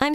I'm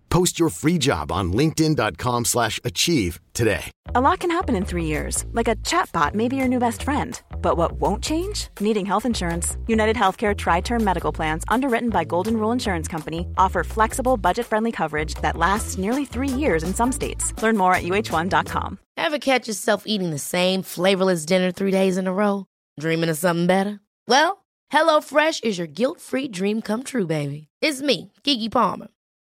Post your free job on linkedin.com/achieve slash achieve today. A lot can happen in three years, like a chatbot may be your new best friend. But what won't change? Needing health insurance. United Healthcare Tri Term Medical Plans, underwritten by Golden Rule Insurance Company, offer flexible, budget friendly coverage that lasts nearly three years in some states. Learn more at uh1.com. Ever catch yourself eating the same flavorless dinner three days in a row? Dreaming of something better? Well, HelloFresh is your guilt free dream come true, baby. It's me, Kiki Palmer.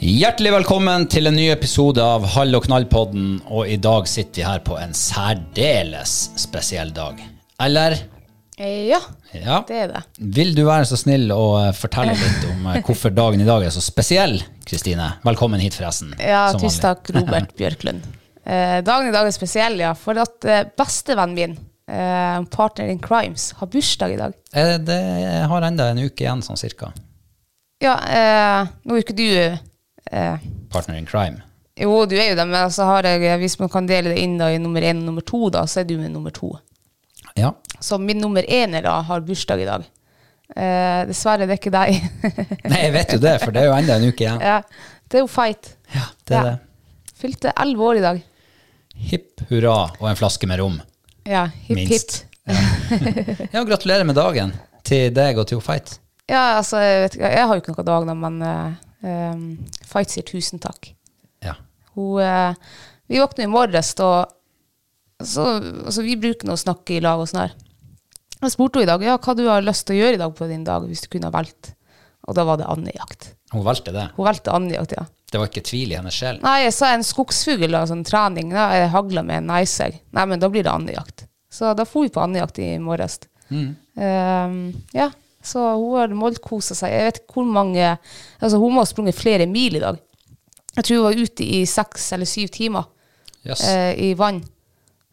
Hjertelig velkommen til en ny episode av Hall og knall-podden. Og i dag sitter vi her på en særdeles spesiell dag. Eller? Eh, Ja, Ja. det er det. Vil du være så snill å eh, fortelle litt om eh, hvorfor dagen i dag er så spesiell, Kristine? Velkommen hit, forresten. Ja, som vanlig. tusen takk, Robert Bjørklund. Eh, dagen i dag er spesiell, ja, for at eh, bestevennen min, eh, partner in crimes, har bursdag i dag. Eh, Det jeg har enda en uke igjen, sånn cirka. Ja, eh, nå er jo ikke du eh, Partner in crime. Jo, du er jo det, men altså har jeg, hvis man kan dele det inn da, i nummer én og nummer to, da, så er du med nummer to. Ja. Så min nummer én da, har bursdag i dag. Eh, dessverre, det er ikke deg. Nei, jeg vet jo det, for det er jo enda en uke igjen. ja, det er jo feit. Ja, det er Ja. det. Fylte elleve år i dag. Hipp hurra og en flaske med rom. Ja, hipp, hipp. Minst. Ja, gratulerer med dagen til deg og til Fight. Ja, altså, jeg, vet ikke, jeg har jo ikke noe dag, da, men eh, em, Fight sier tusen takk. Ja. Hun, eh, vi våkner i morges, og så, altså, vi bruker nå å snakke i lag og sånn her. Jeg spurte henne i dag ja, hva du har lyst til å gjøre i dag på din dag, hvis du kunne ha valgt. Og da var det andejakt. Hun valgte det. Hun valgte andejakt, ja. Det var ikke tvil i hennes sjel. Nei, jeg sa en skogsfugl, da, sånn trening. Da, jeg hagla med en nicer. Nei, men da blir det andejakt. Så da for vi på andejakt i morges. Ehm, ja, så hun har målkosa seg. Jeg vet ikke hvor mange Altså, hun må ha sprunget flere mil i dag. Jeg tror hun var ute i seks eller syv timer Jøss. eh, i vann.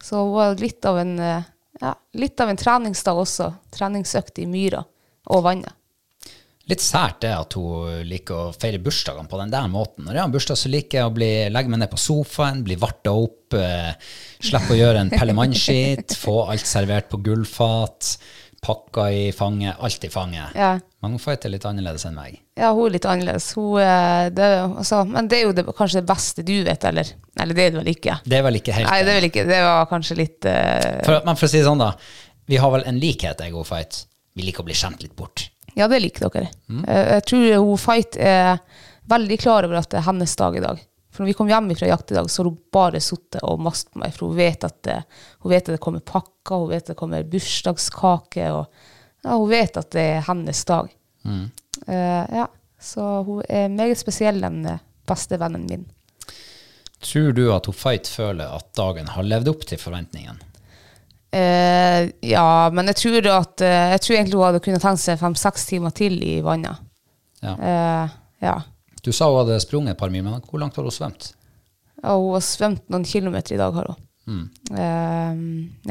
Så hun var litt av en eh, ja, litt av en treningsdag også. Treningsøkt i myra og vannet. Litt sært det at hun liker å feire bursdagene på den der måten. Når jeg har bursdag, så liker jeg å bli, legge meg ned på sofaen, bli varta opp, eh, slippe å gjøre en pellemannskit, få alt servert på gullfat, pakka i fanget, alt i fanget. Ja. Men hun fighter litt annerledes enn meg. Ja, hun er litt annerledes. Hun, eh, det, er jo- altså, men det er jo det, kanskje det beste du vet, eller? Eller det er det vel ikke? Det er vel ikke helt Nei, det er vel ikke. Det var kanskje litt eh, for, Men for å si det sånn, da. Vi har vel en likhet, jeg og Fight. Vi liker å bli skjemt litt bort. Ja, det liker dere. Eh, jeg tror hun Fight er veldig klar over at det er hennes dag i dag. For når vi kom hjem fra jakt i dag, så har hun bare sittet og mast på meg. For hun vet at det, hun vet at det kommer pakker, hun vet at det kommer bursdagskake. Og, ja, hun vet at det er hennes dag. Eh, ja, så hun er meget spesiell, den eh, bestevennen min. Tror du at hun Fight føler at dagen har levd opp til forventningene? Eh, ja, men jeg tror, at, eh, jeg tror egentlig hun hadde kunnet tenkt seg fem-seks timer til i vannet. Ja. Eh, ja. Du sa hun hadde sprunget et par mil, men hvor langt har hun svømt? Og hun har svømt noen kilometer i dag, har hun. Eh,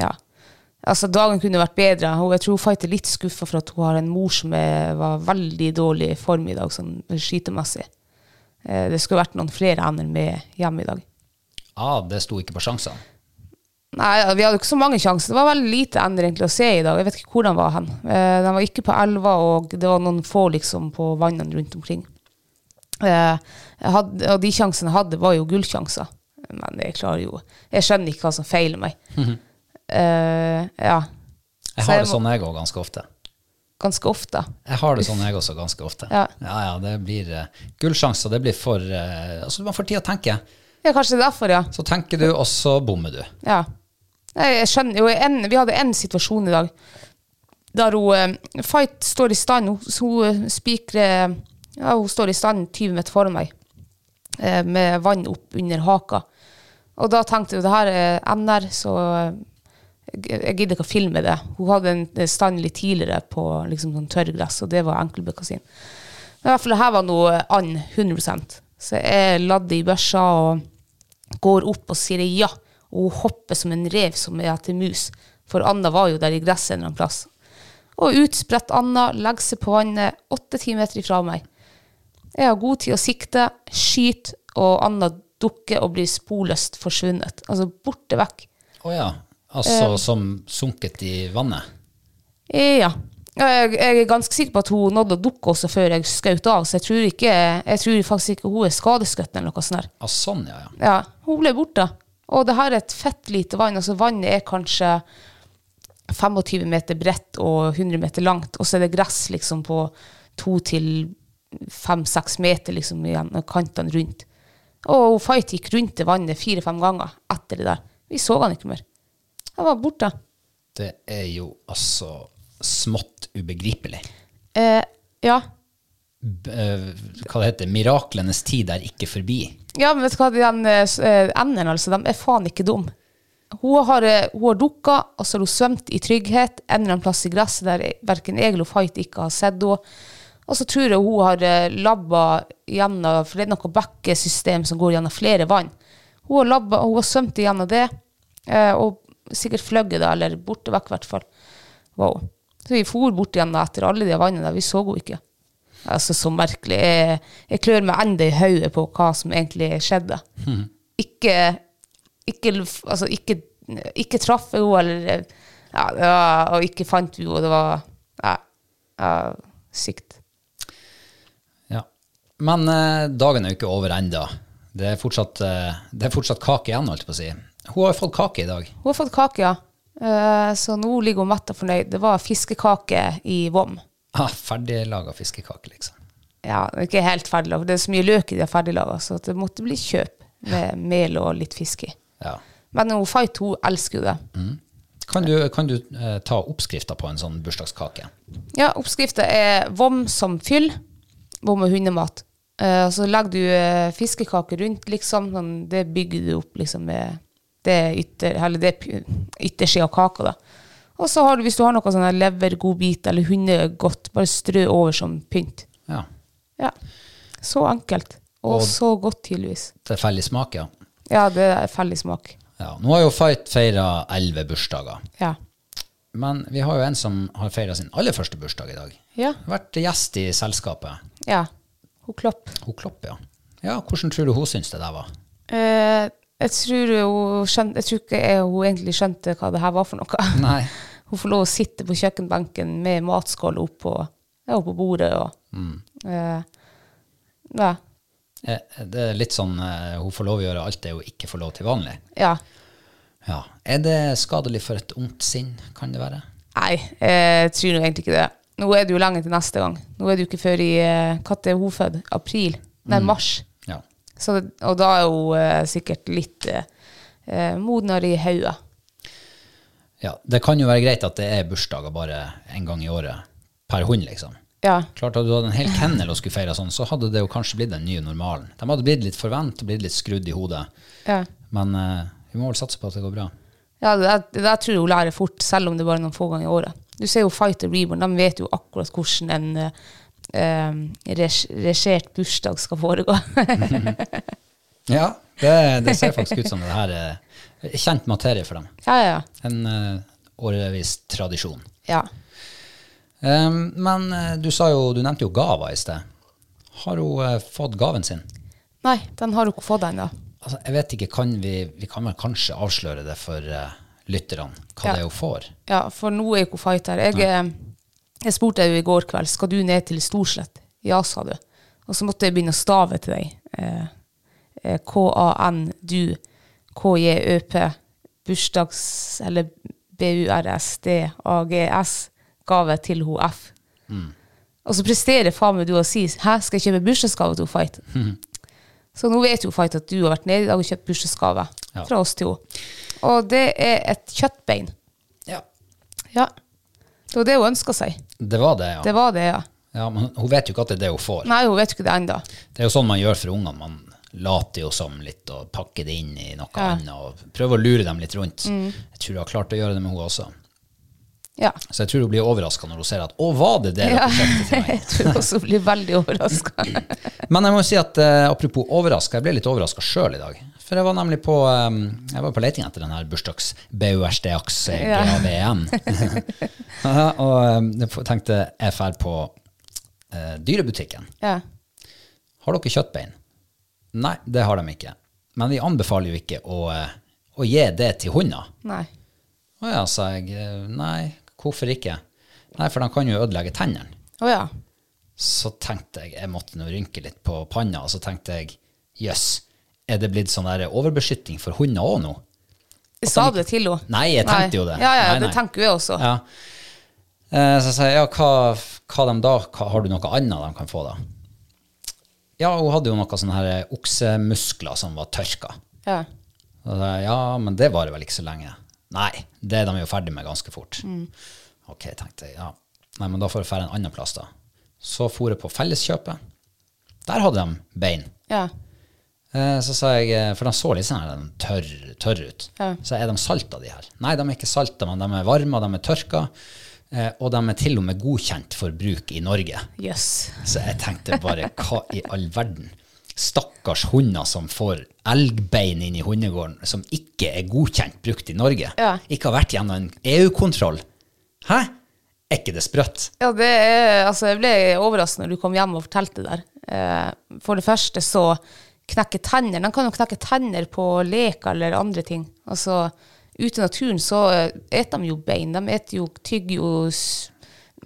ja. Altså, dagen kunne vært bedre. Hun, jeg tror hun Fight er litt skuffa for at hun har en mor som er, var veldig dårlig i form i dag, sånn skytemessig. Eh, det skulle vært noen flere hender med hjem i dag. Ah, det sto ikke på sjansene. Nei, vi hadde ikke så mange sjanser. Det var veldig lite ender egentlig å se i dag. Jeg vet ikke hvor de var hen. Eh, De var ikke på elva, og det var noen få liksom på vannene rundt omkring. Eh, Jeg hadde, og de sjansene jeg hadde, var jo gullsjanser. Men jeg klarer jo Jeg skjønner ikke hva som feiler meg. Eh, ja. Jeg Så har jeg det må- sånn jeg òg ganske ofte. Ganske ofte. Jeg har det sånn jeg også ganske ofte. Ja. ja, ja, det blir eh, gullsjanser. Det blir for eh, Altså, man får tid å tenke. Ja, kanskje derfor, ja. Så tenker du, og så bommer du. Ja. Nei, jeg skjønner jo en, Vi hadde en situasjon i dag der hun eh, Fight står i stand. Hun, hun eh, spikrer ja, Hun står i stand 20 meter foran meg eh, med vann opp under haka. Og da tenkte jeg det her er NR, så eh, jeg jeg gidder ikke å filme det. Hun hadde en eh, stand litt tidligere på liksom, sånn tørrgress, og det var enkelbøkkasin. Men i hvert fall det her var noe and 100 Så jeg ladde i børsa og går opp og sier ja. Og hun hopper som en rev som er etter mus. For Anna var jo der i gresset en eller annen plass. Og utspredt Anna legger seg på vannet åtte-ti meter ifra meg. Jeg har god tid å sikte, skyte, og Anna dukker og blir sporløst forsvunnet. Altså borte vekk. Å ja. Altså Eh. som sunket i vannet. Ja. Jeg, jeg er ganske sikker på at hun nådde å dukke også før jeg skjøt av, så jeg tror, ikke, jeg tror faktisk ikke hun er skadeskutt eller noe sånt. der. Ah, sånn, ja, ja. Ja, hun ble borte. Og det her er et fett lite vann. altså Vannet er kanskje 25 meter bredt og 100 meter langt, og så er det gress liksom på 2-5-6 meter liksom igjen, og kantene rundt. Og hun Fight gikk rundt det vannet fire-fem ganger etter det der. Vi så han ikke mer. Han var borte. Det er jo altså smått ubegripelig. Eh, ja. B eh, hva det heter Miraklenes tid er ikke forbi. ja, men vet du hva, den eh, s- eh, enden altså, de er faen ikke dum. Hun har, eh, hun har dukka, og så har hun svømt i trygghet en eller annen plass i gresset der verken jeg eller Fight ikke har sett henne. Og så tror jeg hun har eh, labba gjennom For det er noe bekkesystem som går gjennom flere vann. Hun har, labba, hun har svømt gjennom det, eh, og sikkert fløyet da, eller borte vekk, i hvert fall. Wow. Så vi for bort igjen da, etter alle de vannene der. Vi så henne ikke. Altså, så merkelig. Jeg, jeg klør meg enda i hodet på hva som egentlig skjedde. Ikke, ikke, altså, ikke, ikke traff jeg henne, eller ja, det var, Og ikke fant vi henne. Det var ja, ja, sykt. Ja. Men eh, dagen er jo ikke over ennå. Det, er fortsatt, eh, det er fortsatt kake igjen, holdt jeg på å si. Hun har jo fått kake i dag. Hun har fått kake, ja. Eh, så nå ligger hun mett og fornøyd. Det var fiskekake i vom. Ah, Ferdiglaga fiskekake, liksom. Ja, det er ikke helt ferdiglaget. Det er så mye løk i det ferdiglaget, så det måtte bli kjøp med mel og litt fisk i. Ja. Mm. Men hun Fight hun elsker jo det. Kan du, kan du eh, ta oppskrifta på en sånn bursdagskake? Ja, oppskrifta er vom som fyll, vom og hundemat. Eh, og så legger du eh, fiskekake rundt, liksom. Sånn, det bygger du opp liksom med det, ytter, eller det p- yttersida av kaka, da. Og så har du, hvis du har noe sånn her levergodbit eller hundegodt, bare strø over som pynt. Ja. Ja. Så enkelt. Og, Og- så godt, tydeligvis. Tilfeldig smak, ja. Ja, det er felles smak. ja. Nå har jo Fight feira elleve bursdager. Ja. Men vi har jo en som har feira sin aller første bursdag i dag. Ja. Vært gjest i selskapet. ja. Hun Klopp. Hun Klopp, ja. Ja, Hvordan tror du hun syns det der var? Eh, jeg, tror hun skjønte, jeg tror ikke jeg, hun egentlig skjønte hva det her var for noe. Nei. Hun får lov å sitte på kjøkkenbenken med matskål opp på, ja, opp på bordet. Og, eh, ja, Eh, Det er litt sånn eh, hun får lov å gjøre alt det hun ikke får lov til vanlig. ja. Ja. Er det skadelig for et ungt sinn, kan det være? Nei, eh, jeg tror nå egentlig ikke det. Nå er det jo lenge til neste gang. Nå er det jo ikke før i eh, Når er hun født? April? Nei, mars. Ja. Så det, og da er hun eh, sikkert litt eh, eh, modnere i hodet. ja. Det kan jo være greit at det er bursdager bare en gang i året per hund, liksom. Ja. Klart Hadde du hatt en hel kennel og skulle feire sånn, så hadde det jo kanskje blitt den nye normalen. De hadde blitt litt forvent og blitt litt skrudd i hodet. ja. Men eh, vi må vel satse på at det går bra. Ja, det, der- det der tror jeg hun lærer fort, selv om det bare er noen få ganger i året. Du ser jo Fighter Reborn, de vet jo akkurat hvordan en eh, eh, reg- regert bursdag skal foregå. Ja, det, det ser faktisk ut som det her er kjent materie for dem. ja, ja, ja. En eh, årevis tradisjon. ja. Eh, men eh, du, sa jo, du nevnte jo gava i sted. Har hun eh, fått gaven sin? Nei, den har hun ikke fått ennå. Altså, jeg vet ikke, kan vi, vi kan vel kanskje avsløre det for eh, lytterne hva Ja. det er hun får. Ja, for nå er jo ikke hun fighter. Jeg, eh, jeg spurte deg jo i går kveld skal du ned til Storslett. Ja, sa du. Og så måtte jeg begynne å stave til deg. Eh, eh, K-A-N, du, K-J-Ø-P, bursdags, eller B-U-R-S-D-A-G-S, gave til hun F. Og så presterer faen meg du og sier, hæ, skal jeg kjøpe bursdagsgave til hun fight? Så nå vet jo fight at du har vært nede i dag og kjøpt bursdagsgave Ja. fra oss til henne. Og det er et kjøttbein. Ja. Ja. Det var det hun ønska seg. Det var det, ja. Det var det, ja. ja. Men hun vet jo ikke at det er det hun får. Nei, hun vet jo ikke det ennå. Det er jo sånn man gjør for ungene. Man later jo som litt og pakker det inn i noe Ja. Mm. annet og prøver å lure dem litt rundt. Jeg tror hun har klart å gjøre det med hun også. Ja. Så jeg tror hun blir overraska når hun ser at 'Å, var det det?' Ja. dere kjøpte til meg? Jeg tror også hun blir veldig overraska. Men jeg må jo si at eh, apropos overraska, jeg ble litt overraska sjøl i dag. For jeg var nemlig på eh, jeg var på leting etter den her bursdags-BURSDAX-GAVN. og eh, jeg tenkte jeg drar på eh, dyrebutikken. Ja. Har dere kjøttbein? Nei, det har de ikke. Men vi anbefaler jo ikke å, eh, å gi det til hunder. Nei. Å ja, sa jeg. eh, Nei, hvorfor ikke? Nei, for de kan jo ødelegge tennene. Å ja. Så tenkte jeg, jeg måtte nå rynke litt på panna, og så tenkte jeg, jøss, er det blitt sånn der overbeskytting for hunder også nå? Sa du det til henne? Nei, jeg tenkte jo det. Ja, ja, Nei, det nei. tenker jeg også. Ja. Eh, Så sa jeg, ja, hva, hva de da, hva, har du noe annet de kan få da? Ja, hun hadde jo noe sånne her eh, oksemuskler som var tørka. Ja. Og da, ja, men det varer vel ikke så lenge. Nei, det er de jo ferdig med ganske fort. Mm. Ok, tenkte jeg. Ja. Nei, men da får jeg fære en annen plass da. Så for jeg på felleskjøpet. Der hadde de bein. Ja. Eh, Så sa jeg, eh, for de så litt sånn her den tørr, tørr ut. Så er de salta, de her? Nei, de er ikke salta, men de er varme, og de er tørka. eh, Og de er til og med godkjent for bruk i Norge. Jøss. Så jeg tenkte bare, hva i all verden? Stakkars hunder som får elgbein inn i hundegården, som ikke er godkjent brukt i Norge. Ja. Ikke har vært gjennom en EU-kontroll. Hæ? Er ikke det sprøtt? Ja, det er Altså, jeg ble overrasket når du kom hjem og fortalte det der. Eh, For det første så knekker tenner De kan jo knekke tenner på leker eller andre ting. Altså, ute i naturen så eh, eter de jo bein. De eter jo, tygger jo s-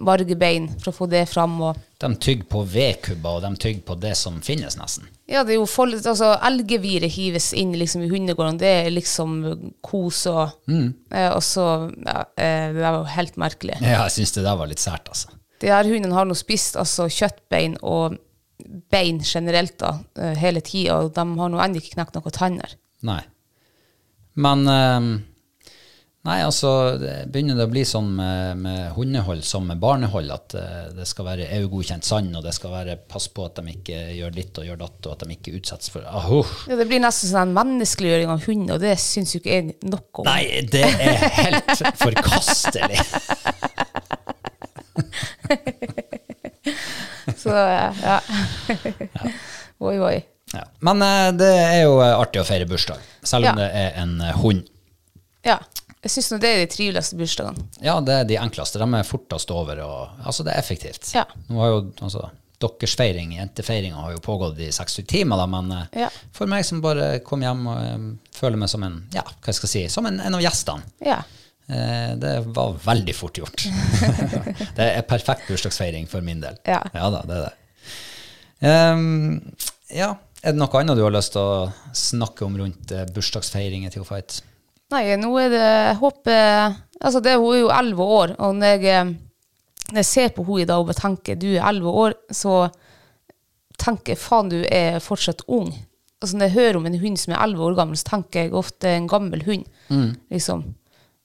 margebein for å få det fram. og De tygger på vedkubber, og de tygger på det som finnes nesten. Ja, det er jo folk, altså Elgeviret hives inn liksom, i hundegården. Det er liksom kos og eh, Og så ja, eh, Det der var jo helt merkelig. Ja, jeg synes det der var litt sært, altså. De her hundene har nå spist altså kjøttbein og bein generelt da, eh, hele tida, og de har nå ennå ikke knekt noen tenner. Nei. Men eh, Nei, altså, det begynner det å bli sånn med, med hundehold som med barnehold, at eh, det skal være EU-godkjent sand, og det skal være pass på at de ikke gjør ditt og gjør datt, og at de ikke utsettes for ah, huff. Ja, det blir nesten sånn en menneskeliggjøring av hund, og det syns jo ikke jeg noe om. Nei, det er helt forkastelig! Så eh, ja. oi, oi. Ja. Men eh, det er jo eh, artig å feire bursdag, selv om Ja. det er en eh, hund. Ja. Jeg syns nå det er de triveligste bursdagene. Ja, det er de enkleste. De er fortest over, og altså, det er effektivt. Ja. Nå har jo, altså, deres feiring, jentefeiringa, har jo pågått i 60 timer, da, men eh, Ja. for meg som bare kom hjem og eh, føler meg som en, ja, hva skal jeg si, som en, en av gjestene. Ja. Eh, det var veldig fort gjort. det er perfekt bursdagsfeiring for min del. Ja. da, det er det. Ehm, ja, er det noe annet du har lyst til å snakke om rundt eh, bursdagsfeiringer til Fight? Nei, nå er det jeg håper, altså det, Hun er jo elleve år, og når jeg, eh, når jeg ser på henne i dag og bare tenker du er elleve år, så tenker jeg faen, du er fortsatt ung. Altså Når jeg hører om en hund som er elleve år gammel, så tenker jeg ofte en gammel hund. Mm. liksom.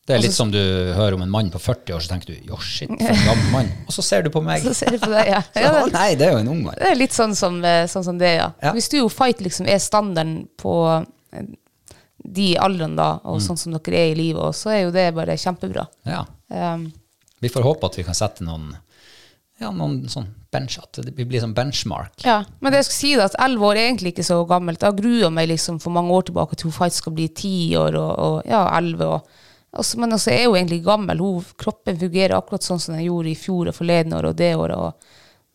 Det er litt som du hører om en mann på 40 år, så tenker du 'jo, shit, for en gammel mann'. Og så ser du på meg. Så ser jeg på deg, ja. Så, ja «Å, det, nei, det er jo en ung mann. det er litt sånn som, eh, sånn som det, ja. Ja. Hvis du jo fight liksom er standarden på eh, de aldrene da, og Mm. sånn som dere er i livet, og så er jo det bare kjempebra. Ja. Um, Vi får håpe at vi kan sette noen, ja, noen sånn bench, at det blir sånn benchmark. Ja, men det jeg skal si da, at 11 år er egentlig ikke så gammelt. Da gruer jeg meg liksom for mange år tilbake til hun faktisk skal bli 10 år og, og ja, 11 og, og så- Men også er hun egentlig gammel. Hun, kroppen fungerer akkurat sånn som den gjorde i fjor og forleden år og det året. Og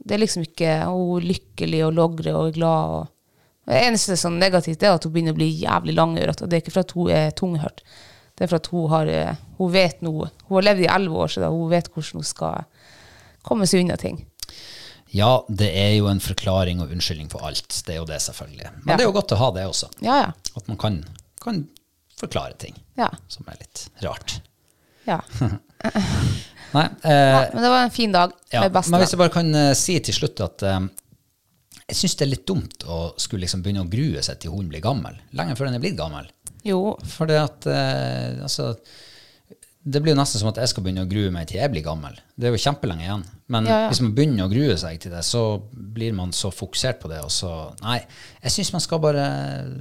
det er liksom ikke Hun er lykkelig og logrer og er glad. Og, det eneste som er negativt, det er at hun begynner å bli jævlig langhørt. Og det er ikke for at hun er tunghørt. Det er for at hun, har, eh, hun vet nå Hun har levd i elleve år, så da hun vet hvordan hun skal komme seg unna ting. Ja, det er jo en forklaring og unnskyldning for alt. Det er jo det, selvfølgelig. Men Ja. det er jo godt å ha det også. Ja, ja. At man kan, kan forklare ting Ja. som er litt rart. ja. Nei, eh, Men det var en fin dag. Ja, med bestevenn. men hvis jeg bare kan eh, si til slutt at eh, jeg syns det er litt dumt å skulle liksom begynne å grue seg til hunden blir gammel, lenge før den er blitt gammel. Jo, For det at eh, altså, Det blir jo nesten som at jeg skal begynne å grue meg til jeg blir gammel. Det er jo kjempelenge igjen. Men Ja, ja. hvis man begynner å grue seg til det, så blir man så fokusert på det, og så Nei, jeg syns man skal bare eh,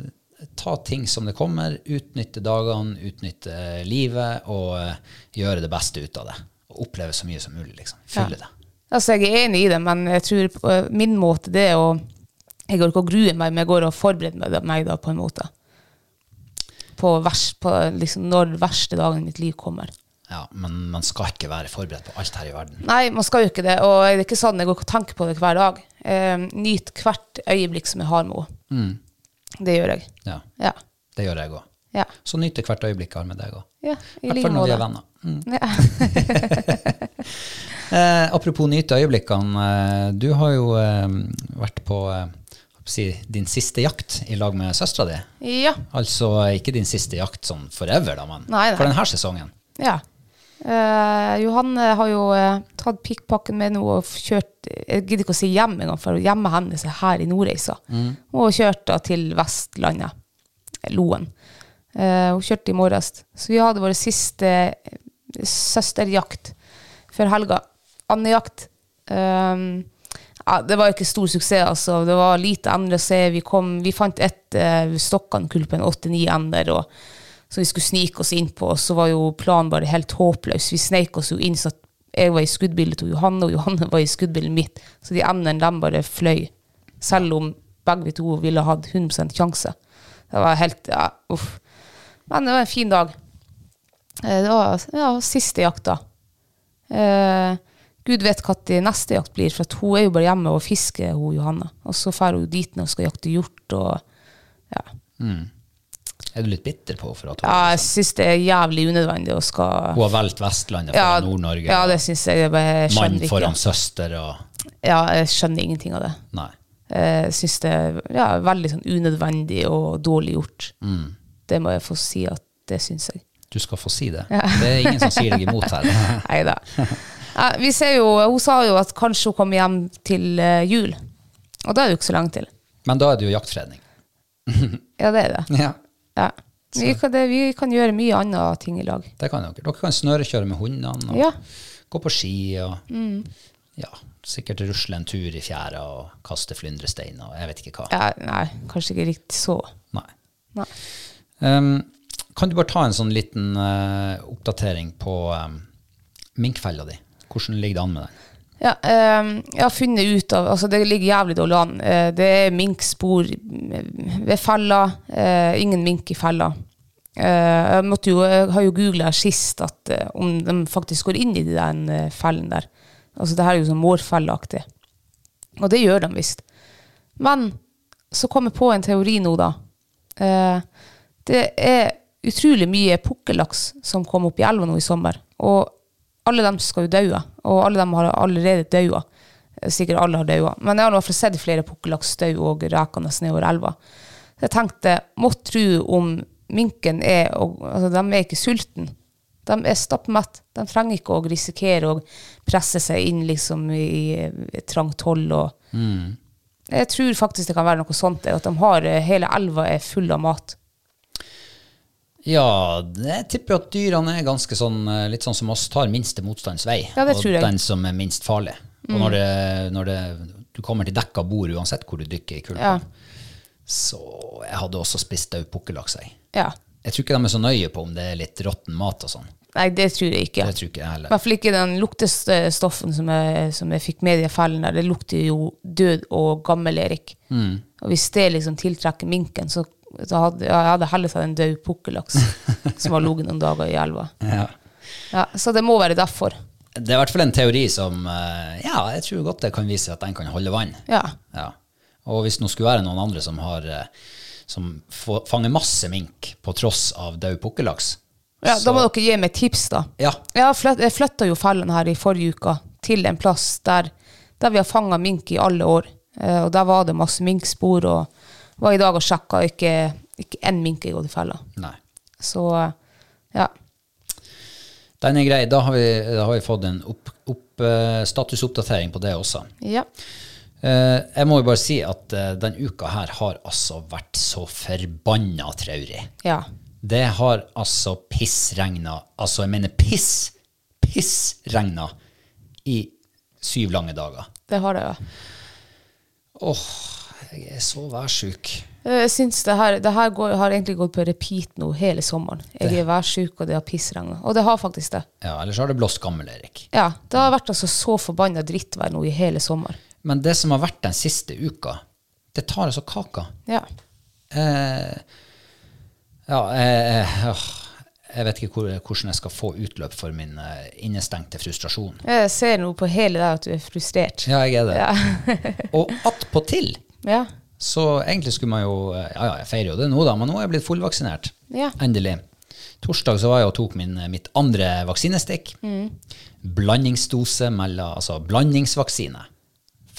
ta ting som det kommer, utnytte dagene, utnytte eh, livet, og eh, gjøre det beste ut av det. Og oppleve så mye som mulig, liksom. Fylle det. altså jeg er enig i det, men jeg tror på min måte det er å Jeg går ikke og gruer meg, men jeg går og forbereder meg da, meg da på en måte. På, vers, på liksom når verste dagen i mitt liv kommer. Ja, men man skal ikke være forberedt på alt her i verden. Nei, man skal jo ikke det, og det er ikke sånn jeg går ikke og tenker på det hver dag. Eh, Nyt hvert øyeblikk som jeg har med henne. Mm. Det gjør jeg. Ja, Ja. Det gjør jeg òg. Ja. Så nyt det hvert øyeblikk jeg har med deg òg. ja I I hvert like fall når vi er måte. venner. Mm. Ja. Eh, apropos nyte øyeblikkene. Eh, du har jo eh, vært på eh, hva skal jeg si, din siste jakt i lag med søstera di. ja. Altså eh, ikke din siste jakt sånn forever, da, men Nei, nei. for denne sesongen. Ja. Eh, Johan eh, har jo eh, tatt pikkpakken med nå og kjørt Jeg gidder ikke å si hjem engang, for hjemmet hennes er her i Nordreisa. Og kjørt da til Vestlandet, eh, Loen. Eh, hun kjørte i morges. Så vi hadde vår siste eh, søsterjakt før helga. Andejakt. Um, ja, det var ikke stor suksess, altså. Det var lite ender å se. Vi, kom, vi fant ett uh, Stokkan-kull på en åtte-ni ender, og, som vi skulle snike oss inn på. Og så var jo planen bare helt håpløs. Vi sneik oss jo inn så at jeg var i skuddbildet til Johanne, og Johanne var i skuddbildet mitt. Så de endene, de bare fløy. Selv om begge vi to ville hatt 100 sjanse. Det var helt ja, Uff. Men det var en fin dag. Eh, Det var ja, siste jakta. Eh, Gud vet hva til neste jakt blir, for at hun er jo bare hjemme og fisker, hun Johanne. Og så drar hun dit når hun skal jakte hjort. Og, ja. Er du litt bitter på for at hun, ja, jeg syns det er jævlig unødvendig å skal hun har valgt Vestlandet ja, foran Nord-Norge? ja, det syns jeg. Jeg bare jeg Mann skjønner ikke. foran søster og Ja, jeg skjønner ingenting av det. Nei. Jeg syns det er ja, veldig sånn unødvendig og dårlig gjort. Mm. Det må jeg få si at det syns jeg. Du skal få si det. Det er ingen som sier deg imot her. Nei da. Vi ser jo, hun sa jo at kanskje hun kommer hjem til eh, jul. Og da er det jo ikke så lenge til. Men da er det jo jaktfredning. Ja, det er det. Ja. Ja. Vi, kan, det, vi kan gjøre mye andre ting i lag. Det kan dere. Dere kan snørekjøre med hundene og Ja. Mm. gå på ski og ja, sikkert rusle en tur i fjæra og kaste flyndresteiner og jeg vet ikke hva. Ja, nei, kanskje ikke riktig så. Nei. Nei. Um, kan du bare ta en sånn liten eh, oppdatering på um, minkfella di? Hvordan ligger det an med den? Ja, ehm, jeg har funnet ut av Altså, det ligger jævlig dårlig an. Eh, det er minkspor mm, ved fella. eh, ingen mink i fella. Eh, jeg, måtte jo, jeg har jo googla sist at, eh, om de faktisk går inn i de den eh, fellen der. Altså, det her er jo sånn mårfelleaktig. Og det gjør de visst. Men så kom jeg på en teori nå, da. Eh, det er utrolig mye pukkellaks som kom opp i elva nå i sommer. Og alle dem skal jo daue. Og alle dem har allerede daua. Eh, Sikkert alle har daua. Men jeg har nå i hvert fall sett flere pukkellaks dau og rekende nedover elva. Så jeg tenkte, må tru om minken er og, altså, De er ikke sultne. De er stappmett. De trenger ikke å risikere å presse seg inn liksom, i et trangt hold. og jeg tror faktisk det kan være noe sånt, at de har, eh, hele elva er full av mat. Ja, jeg tipper jo at dyrene er ganske sånn, eh, litt sånn som oss, tar minste motstands vei. Ja, det og tror jeg. Mm. den som er minst farlig. Og når, det, når det, du kommer til dekka bord, uansett hvor du dykker i kulpen, Ja. så jeg hadde også spist død pukkellaks. Jeg. Ja. jeg tror ikke de er så nøye på om det er litt råtten mat og sånn. Nei, det tror jeg ikke. Det tror ikke jeg I heller. hvert fall ikke den luktestoffen som jeg, som jeg fikk med i de fellene. Det lukter jo død og gammel Erik. Mm. Og hvis det liksom tiltrekker minken, så, så hadde ja, jeg hadde heller tatt en død pukkellaks som har ligget noen dager i elva. Ja. Ja, så det må være derfor. Det er i hvert fall en teori som eh, Ja, jeg tror godt det kan vise at den kan holde vann. Ja. Ja. Og hvis det nå skulle være noen andre som, har, eh, som få- fanger masse mink på tross av død pukkellaks, Ja, Så- da må dere gi meg tips, da. Ja. Jeg flytta, flytta jo fellen her i forrige uke til en plass der, der vi har fanga mink i alle år. Eh, og der var det masse minkspor, og var i dag og sjekka ikke, ikke én mink er gått i fella. Nei. Så eh, ja. Den er grei. Da har vi, da har vi fått en opp, opp, eh, statusoppdatering på det også. ja. Eh, jeg må jo bare si at eh, den uka her har altså vært så forbanna traurig. Ja. Det har altså pissregna Altså, jeg mener piss! Pissregna i syv lange dager. Det har det, ja. Åh, jeg er så værsjuk. Eh, Jeg syns det her, det her går, har egentlig gått på repeat nå hele sommeren. Jeg er værsjuk, og det har pissregna. Og det har faktisk det. Ja, ellers har det blåst gammel, Erik. Ja, Det har vært altså så forbanna drittvær nå i hele sommer. Men det som har vært den siste uka, det tar altså kaka. Ja. Eh, ja, eh, eh, åh, jeg vet ikke hvor, hvordan jeg skal få utløp for min eh, innestengte frustrasjon. Jeg ser nå på hele deg at du er frustrert. Ja, jeg er det. og attpåtil, Ja. så egentlig skulle man jo eh, Ja, ja, jeg feirer jo det nå, da, men nå er jeg blitt fullvaksinert. Ja. Endelig. Torsdag så var jeg og tok min, eh, mitt andre vaksinestikk. Mm. Blandingsdose mellom Altså blandingsvaksine.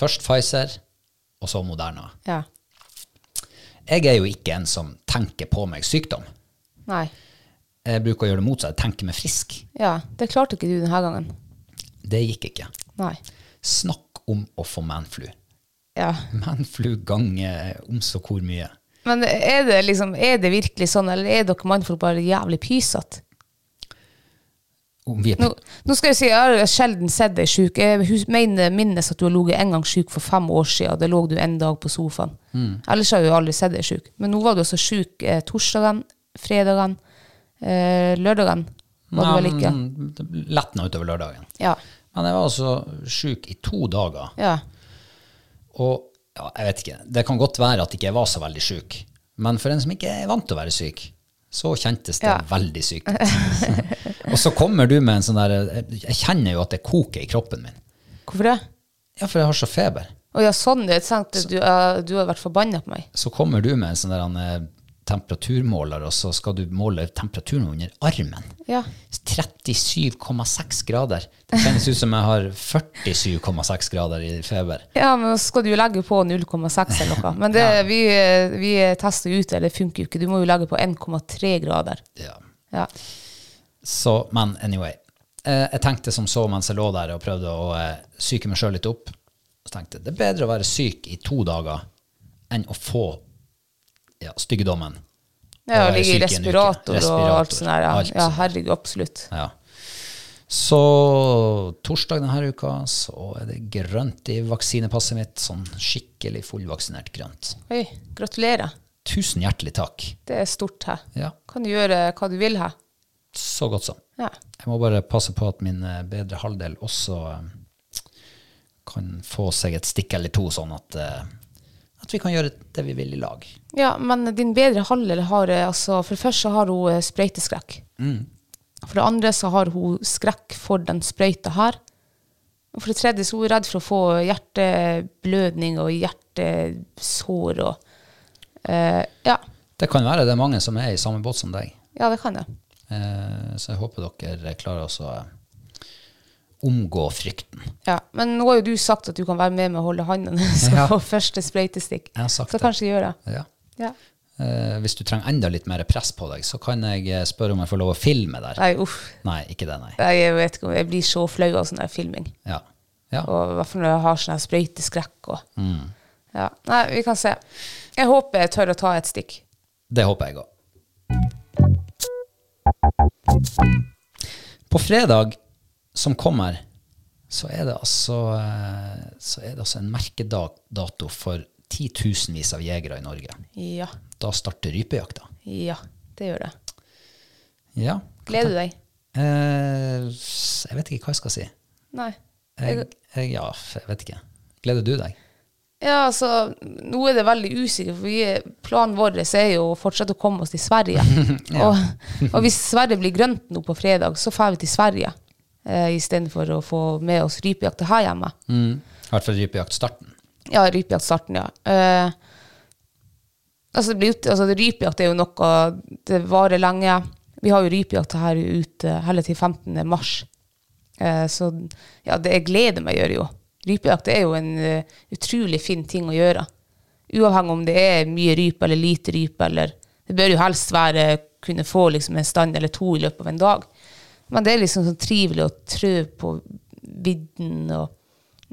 Først Pfizer, og så Moderna. ja. Jeg er jo ikke en som tenker på meg sykdom. Nei. Jeg bruker å gjøre det motsatt. Jeg tenker meg frisk. Ja, det klarte ikke du denne gangen. Det gikk ikke. Nei. Snakk om å få manflu. Ja. Manflu ganger om så hvor mye. Men er det, liksom, er det virkelig sånn, eller er dere mannfolk bare jævlig pysete? Om vi er, Nå, nå skal jeg si, jeg har sjelden sett deg sjuk. Jeg hus- mener, minnes at du har ligget en gang sjuk for fem år siden. Da lå du en dag på sofaen. Ellers har jeg jo aldri sett deg sjuk. Men nå var du også sjuk eh, torsdagen, fredagen, eh, lørdagen. Var du vel ikke? Lettna utover lørdagen. Ja. Men jeg var altså sjuk i to dager. Ja. Og ja, jeg vet ikke, det kan godt være at ikke jeg var så veldig sjuk. Men for en som ikke er vant til å være syk, så kjentes det Ja. veldig sykt ut. og så kommer du med en sånn der jeg- Jeg kjenner jo at det koker i kroppen min. Hvorfor det? Ja, for jeg har så feber. Å ja, sånn. Jeg tenkte du, eh, du har vært forbanna på meg. Så kommer du med en sånn der han, eh, temperaturmåler, og så skal du måle temperaturen under armen. Ja. 37,6 grader. Det kjennes ut som jeg har 47,6 grader i feber. Ja, men så skal du jo legge på 0,6 eller noe. Men det, vi, vi tester jo ut, det, det funker jo ikke. Du må jo legge på 1,3 grader. Ja. Ja. Så, men anyway. Eh, jeg tenkte som så mens jeg lå der og prøvde å eh, psyke meg sjøl litt opp. Så tenkte jeg det er bedre å være syk i to dager enn å få ja, styggedommen. Ja, Og og syk i ligge i en uke. respirator, og alt Respirator, sånt der. Ja, alt ja sånt. herregud, absolutt. Ja. Så torsdag denne uka så er det grønt i vaksinepasset mitt. Sånn skikkelig fullvaksinert grønt. Oi, gratulerer. Tusen hjertelig takk. Det er stort her. Ja, Kan du gjøre hva du vil her. så godt som. Ja. Jeg må bare passe på at min eh, bedre halvdel også eh, kan få seg et stikk eller to, sånn at, eh, at vi kan gjøre det vi vil i lag. ja, men din bedre halvdel har eh, altså For det første så har hun eh, sprøyteskrekk. Mm. For det andre så har hun skrekk for den sprøyta her. Og for det tredje så er hun redd for å få hjerteblødning og hjertesår og eh, ja. Det kan være det er mange som er i samme båt som deg, ja, det kan jeg. Eh, så jeg håper dere klarer også å eh, omgå frykten. Ja. Men nå har jo du sagt at du kan være med meg og holde hånda når du skal Ja. få første sprøytestikk. Jeg har sagt Så det. kanskje jeg gjør det. Ja. Ja. Eh, Hvis du trenger enda litt mer press på deg, så kan jeg eh, spørre om jeg får lov å filme der. Nei, uff. Nei, ikke det, nei. Nei, Jeg vet ikke om jeg blir så flau av sånn der filming. Ja. ja. Og i hvert fall når jeg har sånn her sprøyteskrekk og ja. Nei, vi kan se. Jeg håper jeg tør å ta et stikk. Det håper jeg òg. På fredag som kommer, så er det altså, eh, så er det altså en merkedato for titusenvis av jegere i Norge. Ja. Da starter rypejakta. Ja, det gjør det. Ja. Gleder du deg? Eh, s- jeg vet ikke hva jeg skal si. Nei. Jeg, jeg, ja, f- jeg vet ikke. Gleder du deg? Ja, altså, nå er det veldig usikkert, for vi, planen vår er jo å fortsette å komme oss til Sverige. og, og hvis Sverige blir grønt nå på fredag, så drar vi til Sverige. Eh, Istedenfor å få med oss rypejakta her hjemme. I hvert fall rypejaktstarten. Ja, rypejaktstarten, ja. Eh, altså, det blir, jo- altså, rypejakt er jo noe Det varer lenge. Vi har jo rypejakt her ute hele til 15. mars. Eh, Så ja, det jeg gleder meg gjør jo. Rypejakt er jo en eh, utrolig fin ting å gjøre. Uavhengig om det er mye rype eller lite rype, eller Det bør jo helst være kunne få liksom en stand eller to i løpet av en dag. Men det er liksom så trivelig å trø på vidden og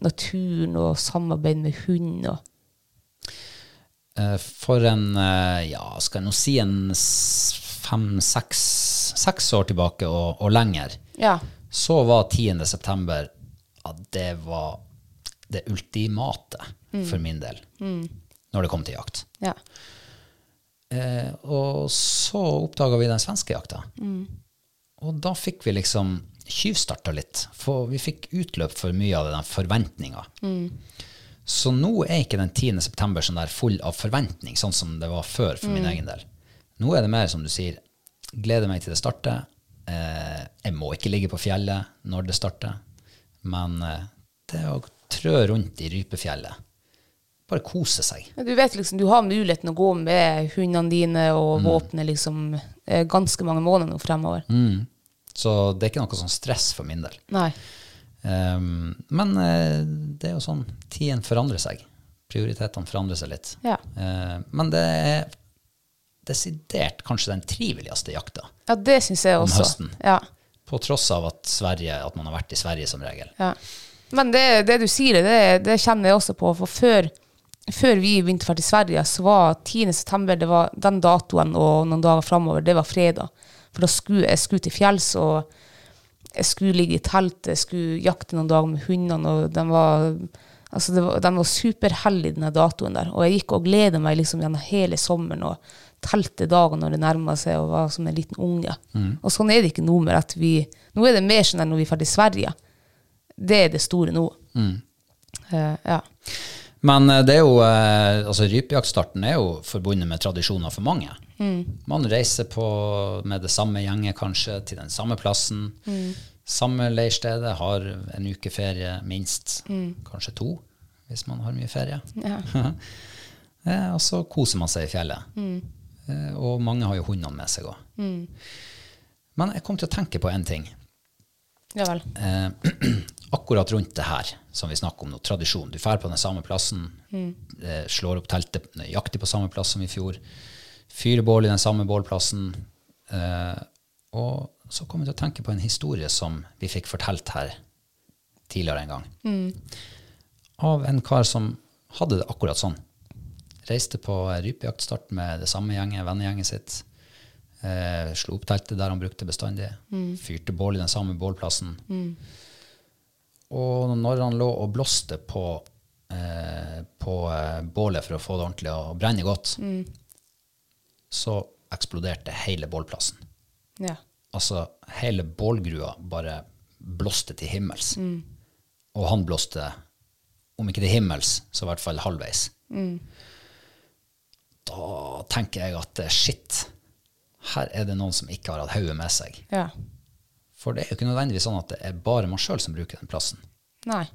naturen og samarbeid med hund og Eh, For en, eh, ja, skal jeg nå si en s- fem, seks, seks år tilbake og, og lenger, Ja. så var 10. september, ja, det var det ultimate for min del, når det kom til jakt. Ja. Eh, og så oppdaga vi den svenske jakta. Og da fikk vi liksom tjuvstarta litt. For vi fikk utløp for mye av den forventninga. Så nå er ikke den 10. september sånn der full av forventning, sånn som det var før for min egen del. Nå er det mer som du sier, gleder meg til det starter. Eh, jeg må ikke ligge på fjellet når det starter. Men eh, det å trø rundt i rypefjellet, bare kose seg. Men Du vet liksom, du har muligheten å gå med hundene dine og våpenet liksom eh, ganske mange måneder nå fremover. Så det er ikke noe sånn stress for min del. Nei. Ehm, men eh, det er jo sånn, tiden forandrer seg. Prioritetene forandrer seg litt. Ja. Eh, men det er desidert kanskje den triveligste jakta, Ja, det syns jeg også. høsten. Ja. på tross av at, Sverige, at man har vært i Sverige som regel. Ja. Men det, det du sier, det, det kjenner jeg også på. For før, før vi begynte å dra til Sverige, så var 10. september det var den datoen og noen dager framover, det var fredag. For da skulle jeg skulle til fjells, og jeg skulle ligge i teltet, jeg skulle jakte noen dager med hundene, og den var, altså det var, den var superhellig, den datoen der. Og jeg gikk og gleda meg liksom gjennom hele sommeren. og telte dagen når det nærma seg, og var som en liten unge. Og sånn er det ikke nå. med at vi, Nå er det mer sånn enn når vi er ferdig i Sverige det er det store nå. Mm. Eh, ja. Men eh, det er jo, eh, altså rypejaktstarten er jo forbundet med tradisjoner for mange. Man reiser på med det samme gjenget kanskje, til den samme plassen. Samme leirstedet har en uke ferie minst, kanskje to, hvis man har mye ferie. Eh, og så koser man seg i fjellet. Eh, og mange har jo hundene med seg òg. Men jeg kom til å tenke på en ting Ja vel. eh, akkurat rundt det her som vi snakker om nå, tradisjon. Du drar på den samme plassen, eh, slår opp teltet nøyaktig på samme plass som i fjor, fyrer bål i den samme bålplassen. Eh, og så kom jeg til å tenke på en historie som vi fikk fortalt her tidligere en gang. Av en kar som hadde det akkurat sånn. Reiste på rypejaktstart med det samme gjenget, vennegjenget sitt. Eh, slo opp teltet der han brukte bestandig. Fyrte bål i den samme bålplassen. Og når han lå og blåste på, eh, på eh, bålet for å få det ordentlig å brenne godt, så eksploderte hele bålplassen. Ja. Altså hele bålgrua bare blåste til himmels. Og han blåste, om ikke til himmels, så i hvert fall halvveis. Da tenker jeg at eh, shit, her er det noen som ikke har hatt hodet med seg. ja. For det er jo ikke nødvendigvis sånn at det er bare man sjøl som bruker den plassen. Nei.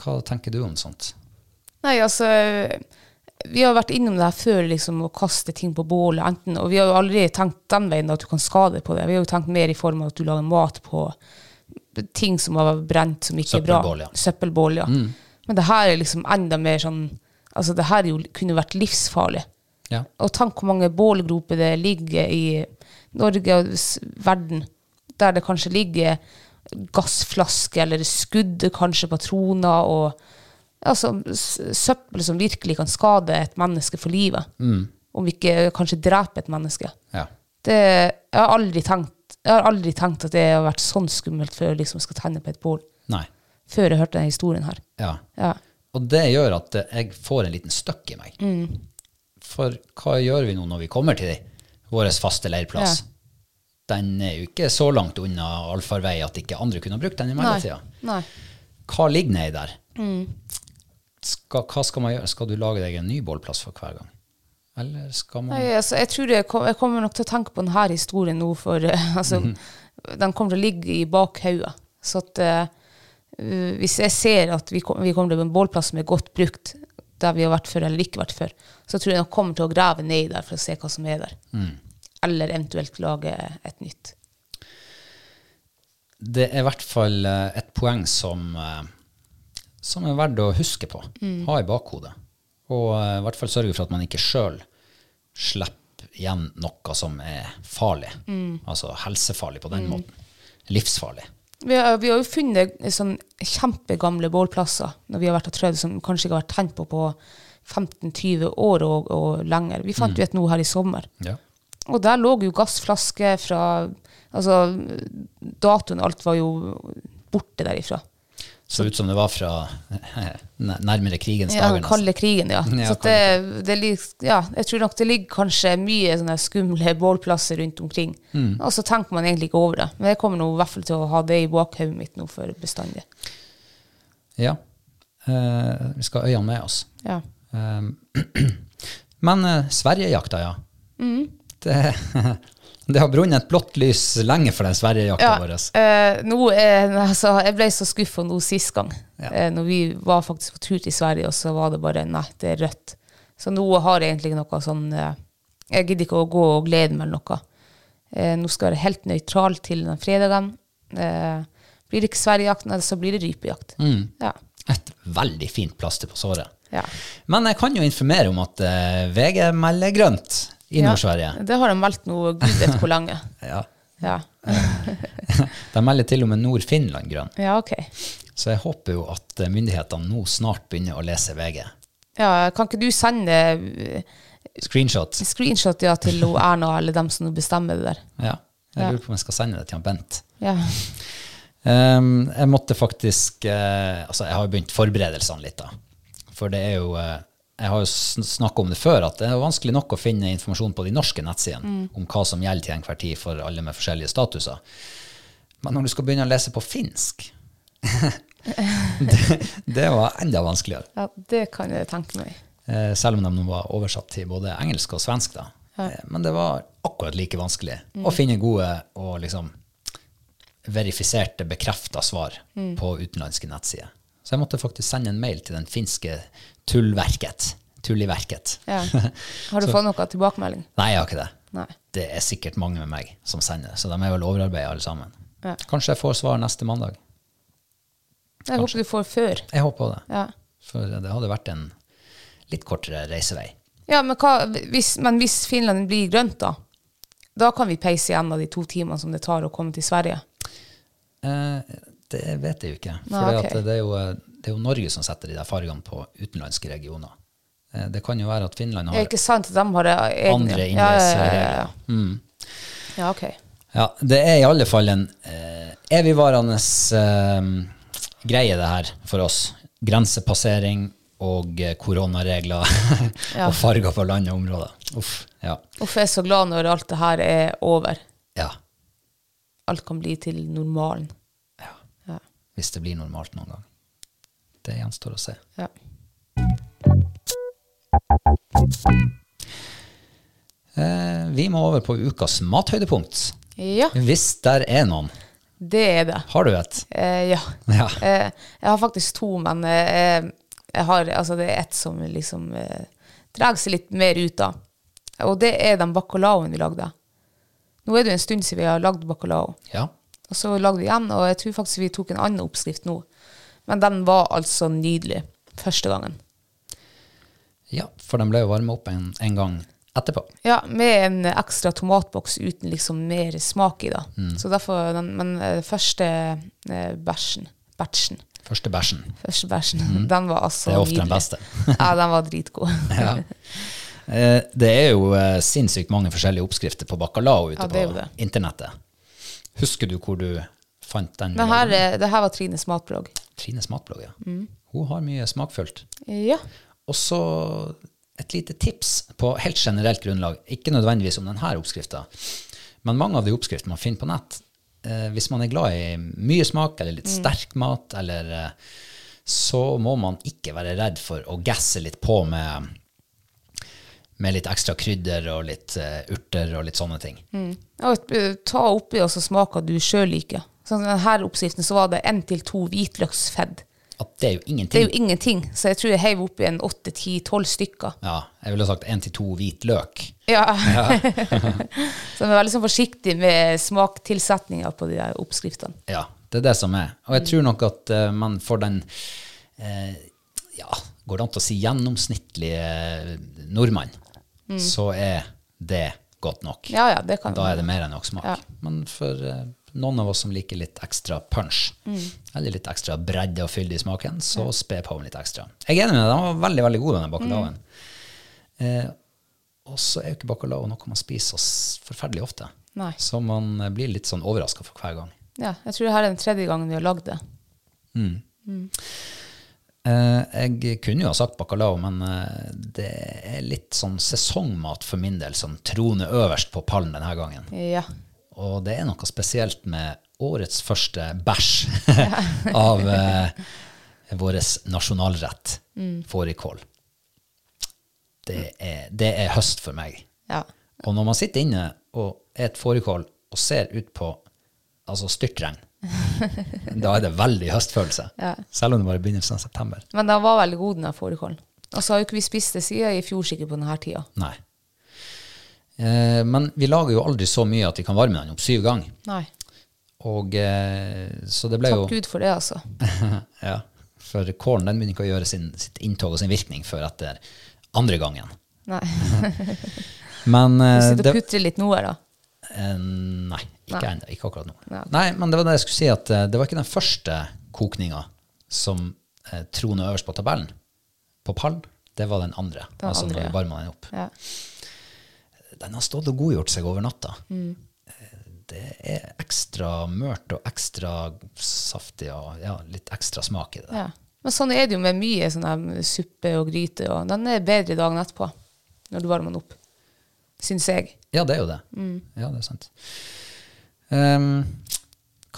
Hva tenker du om sånt? Nei, altså Vi har vært innom det her før, liksom, å kaste ting på bålet. Enten, og vi har jo aldri tenkt den veien at du kan skade deg på det. Vi har jo tenkt mer i form av at du lager mat på ting som har brent, som ikke er bra. Søppelbål, ja. Mm. Søppelbål, ja. Men det her er liksom enda mer sånn Altså, det her er jo, kunne vært livsfarlig. Ja. Og tenk hvor mange bålgroper det ligger i Norge og s- verden, der det kanskje ligger gassflasker eller skudd, kanskje patroner, og altså, s- søppel som virkelig kan skade et menneske for livet. Om ikke kanskje drepe et menneske. ja. Det, jeg, har aldri tenkt, jeg har aldri tenkt at det har vært sånn skummelt før jeg liksom skal tenne på et bål. Nei. Før jeg hørte denne historien her. Ja. Ja. Og det gjør at eh, jeg får en liten støkk i meg. Mm. For hva gjør vi nå når vi kommer til vår faste leirplass? Ja. Den er jo ikke så langt unna allfarvei at ikke andre kunne ha brukt den i mellomtida. Nei. Hva ligger nedi der? Mm. Skal, hva skal man gjøre? Skal du lage deg en ny bålplass for hver gang? Eller skal man Nei, altså, jeg, tror jeg, kom, jeg kommer nok til å tenke på denne historien nå, for eh, altså, den kommer til å ligge i bakhodet. Så at, eh, eh, hvis jeg ser at vi, kom, vi kommer til en bålplass som er godt brukt, der vi har vært før eller ikke vært før, så tror jeg nok kommer til å grave ned der for å se hva som er der. eller eventuelt lage et nytt. Det er i hvert fall eh, et poeng som, eh, som er verdt å huske på. Ha i bakhodet. Og eh, i hvert fall sørge for at man ikke sjøl slipper igjen noe som er farlig. Altså helsefarlig på den måten. Livsfarlig. Vi har, vi har jo funnet sånn kjempegamle bålplasser når vi har vært og trødd, som kanskje ikke har vært tenkt på på 15-20 år og, og lenger. Vi fant jo et nå her i sommer. Og der lå jo gassflasker fra Altså, datoen og alt var jo borte derifra. Så ut som det var fra nær- nærmere krigens Ja, dager. den nesten. kalde krigen, ja. Ja, så at det, det lig- ja, jeg tror nok det ligger kanskje mye sånne skumle bålplasser rundt omkring. Og så tenker man egentlig ikke over det. Men jeg kommer nå i hvert fall til å ha det i bakhodet mitt nå for bestandig. Ja. Eh, vi skal ha øynene med oss. Ja. Eh, men eh, Sverigejakta, ja. Mm. Det, det har brunnet et blått lys lenge for den Sverigejakta Ja, vår. eh, nå, eh, altså, jeg ble så skuffa nå sist gang, Ja. eh, når vi var faktisk på tur til Sverige, og så var det bare nei, det er rødt. Så nå har jeg egentlig noe sånn eh, Jeg gidder ikke å gå og glede meg eller noe. Eh, nå skal jeg være helt nøytral til den fredagen. Eh, blir det ikke Sverigejakt, nei, så blir det rypejakt. Mm. Ja. Et veldig fint plaster på såret. Ja. Men jeg kan jo informere om at eh, VG melder grønt i Nord-Sverige. Ja, det har de meldt nå, gud vet hvor lenge. Ja. Ja, De melder til og med Nord-Finland grønn. ja ok. Så jeg håper jo at eh, myndighetene nå snart begynner å lese VG. Ja, kan ikke du sende eh, Screenshots. screenshot ja, til hun Erna eller dem som nå bestemmer det der? Ja. Ja. Jeg lurer på om jeg skal sende det til han Bent. Ja. Ehm, jeg måtte faktisk eh, Altså, jeg har jo begynt forberedelsene litt, da. For det er jo eh, Jeg har jo snakka om det før, at det er vanskelig nok å finne informasjon på de norske nettsidene om hva som gjelder til enhver tid for alle med forskjellige statuser. Men når du skal begynne å lese på finsk det, det var enda vanskeligere. Ja, det kan jeg tenke meg. Eh, selv om de nå var oversatt til både engelsk og svensk. Da. Eh, Men det var akkurat like vanskelig Mm. å finne gode og liksom verifiserte, bekrefta svar Mm. på utenlandske nettsider. Så jeg måtte faktisk sende en mail til den finske tullverket. Tulliverket. Ja. Har du fått noe tilbakemelding? Nei, jeg har ikke det. Nei. Det er sikkert mange med meg som sender, så de er vel overarbeida alle sammen. Ja. Kanskje jeg får svar neste mandag. Jeg håper du får før. Jeg håper det. Ja, For det hadde vært en litt kortere reisevei. ja men, hva, hvis, men hvis Finland blir grønt, da? Da kan vi peise igjen av de to timene som det tar å komme til Sverige. Eh, det vet jeg jo ikke. For Nei, det ok. at det, er jo, eh, det er jo Norge som setter de der fargene på utenlandske regioner. Eh, det kan jo være at Finland Det er har ikke sant at de har eh, egne andre ja, ja, innreiseregler. ja, Ja, ja, Mm. ja. ja, ok. det er i alle fall en eh, evigvarende eh, greie, det her, for oss. Grensepassering og eh, koronaregler og farger på land og områder. Uff. Ja. Hvorfor er jeg så glad når alt det her er over? ja. Alt kan bli til normalen. Ja. Hvis det blir normalt noen gang. Det gjenstår å se. Ja. Eh, vi må over på ukas mathøydepunkt. ja, Hvis der er noen. det er det. Har du et? Eh, ja. Ja. Eh, jeg har faktisk to, men eh, jeg har, altså, det er ett som liksom eh, drar seg litt mer ut av. Og det er den bacalaoen vi lagde. Nå er det jo en stund siden vi har lagd bacalao. Ja. Og så lagde vi igjen, og jeg tror faktisk vi tok en annen oppskrift nå. Men den var altså nydelig første gangen. ja, for de ble jo varma opp en, en gang etterpå. Ja, med en ekstra tomatboks uten liksom mer smak i, da. Så derfor den Men eh, første eh, bæsjen Batchen. Første bæsjen. Første bæsjen. Den var altså Mhm. Det er ofte den nydelig. beste. ja, den var dritgod. Ja. Eh, Det er jo eh, sinnssykt mange forskjellige oppskrifter på bacalao ute Ja, det er jo på det. internettet. Husker du hvor du fant den? Men her, Mm. eh, det her var Trines matblogg. Trines matblogg, ja. Hun har mye smakfullt. Ja. Og så et lite tips på helt generelt grunnlag, ikke nødvendigvis om denne oppskrifta, men mange av de oppskriftene man finner på nett, eh, hvis man er glad i mye smak eller Mm. litt sterk mat, eller, eh, så må man ikke være redd for å gasse litt på med, med litt ekstra krydder og litt eh, urter og litt sånne ting. Og eh, ta oppi og så smaker du sjøl liker. Sånn, som denne oppskriften så var det én til to hvitløksfedd. at det er jo Det er ingenting. jo ingenting, så jeg tror jeg heiv oppi en 8-10-12 stykker. Ja, jeg ville sagt én til to hvit løk. Ja. så jeg er veldig sånn forsiktig med smaktilsetninger på de der oppskriftene. Ja, det er det som er. Og jeg Mm. tror nok at eh, man får den eh, ja, Går det an til å si gjennomsnittlige eh, nordmann, så er det godt nok. Mm. Ja, ja, det kan Da er det mer enn nok smak. Ja. Men for eh, noen av oss som liker litt ekstra punch, Mm. eller litt ekstra bredde og fylde i smaken, så spe på med litt ekstra. Jeg er enig med deg, den var veldig, veldig god, denne bacalaoen. Mm. Eh, og så er jo ikke bacalao noe man spiser så forferdelig ofte. Nei. Så man eh, blir litt sånn overraska for hver gang. Ja, jeg tror det her er den tredje gangen vi har lagd det. Eh, jeg kunne jo ha sagt bacalao, men eh, det er litt sånn sesongmat for min del som troner øverst på pallen denne gangen. Ja. Og det er noe spesielt med årets første bæsj av eh, vår nasjonalrett, fårikål. Det, er- det er høst for meg. ja. Og når man sitter inne og er et fårikål og ser ut på altså styrtregn, da er det veldig høstfølelse. Selv om det bare er begynnelsen av september. Men den var veldig god, den her fårikålen. Og så har jo ikke vi spist det siden i fjor sikkert på denne tida. Nei. Eh, men vi lager jo aldri så mye at vi kan varme den opp syv ganger. Nei. Og eh, så det ble Takk jo Gud for det, altså. ja, For kålen den begynner ikke å gjøre sin, sitt inntog og sin virkning før etter andre gangen. Nei. Men Du eh, sitter og det, putter litt nå her, da. eh, Nei, ikke Nei. ennå. Ikke akkurat nå. Nei. Nei, men det var det jeg skulle si, at eh, det var ikke den første kokninga som eh, troner øverst på tabellen. På pallen. Det var den andre. Den altså andre, når ja. vi varma den opp. Ja. den har stått og godgjort seg over natta. Mm. Eh, Det er ekstra mørt og ekstra saftig og ja, litt ekstra smak i det. ja. Men sånn er det jo med mye sånn her suppe og gryte. Og den er bedre dagen etterpå, når du varmer den opp. Syns jeg. Ja, det er jo det. Mm. Ja, det er sant. Um,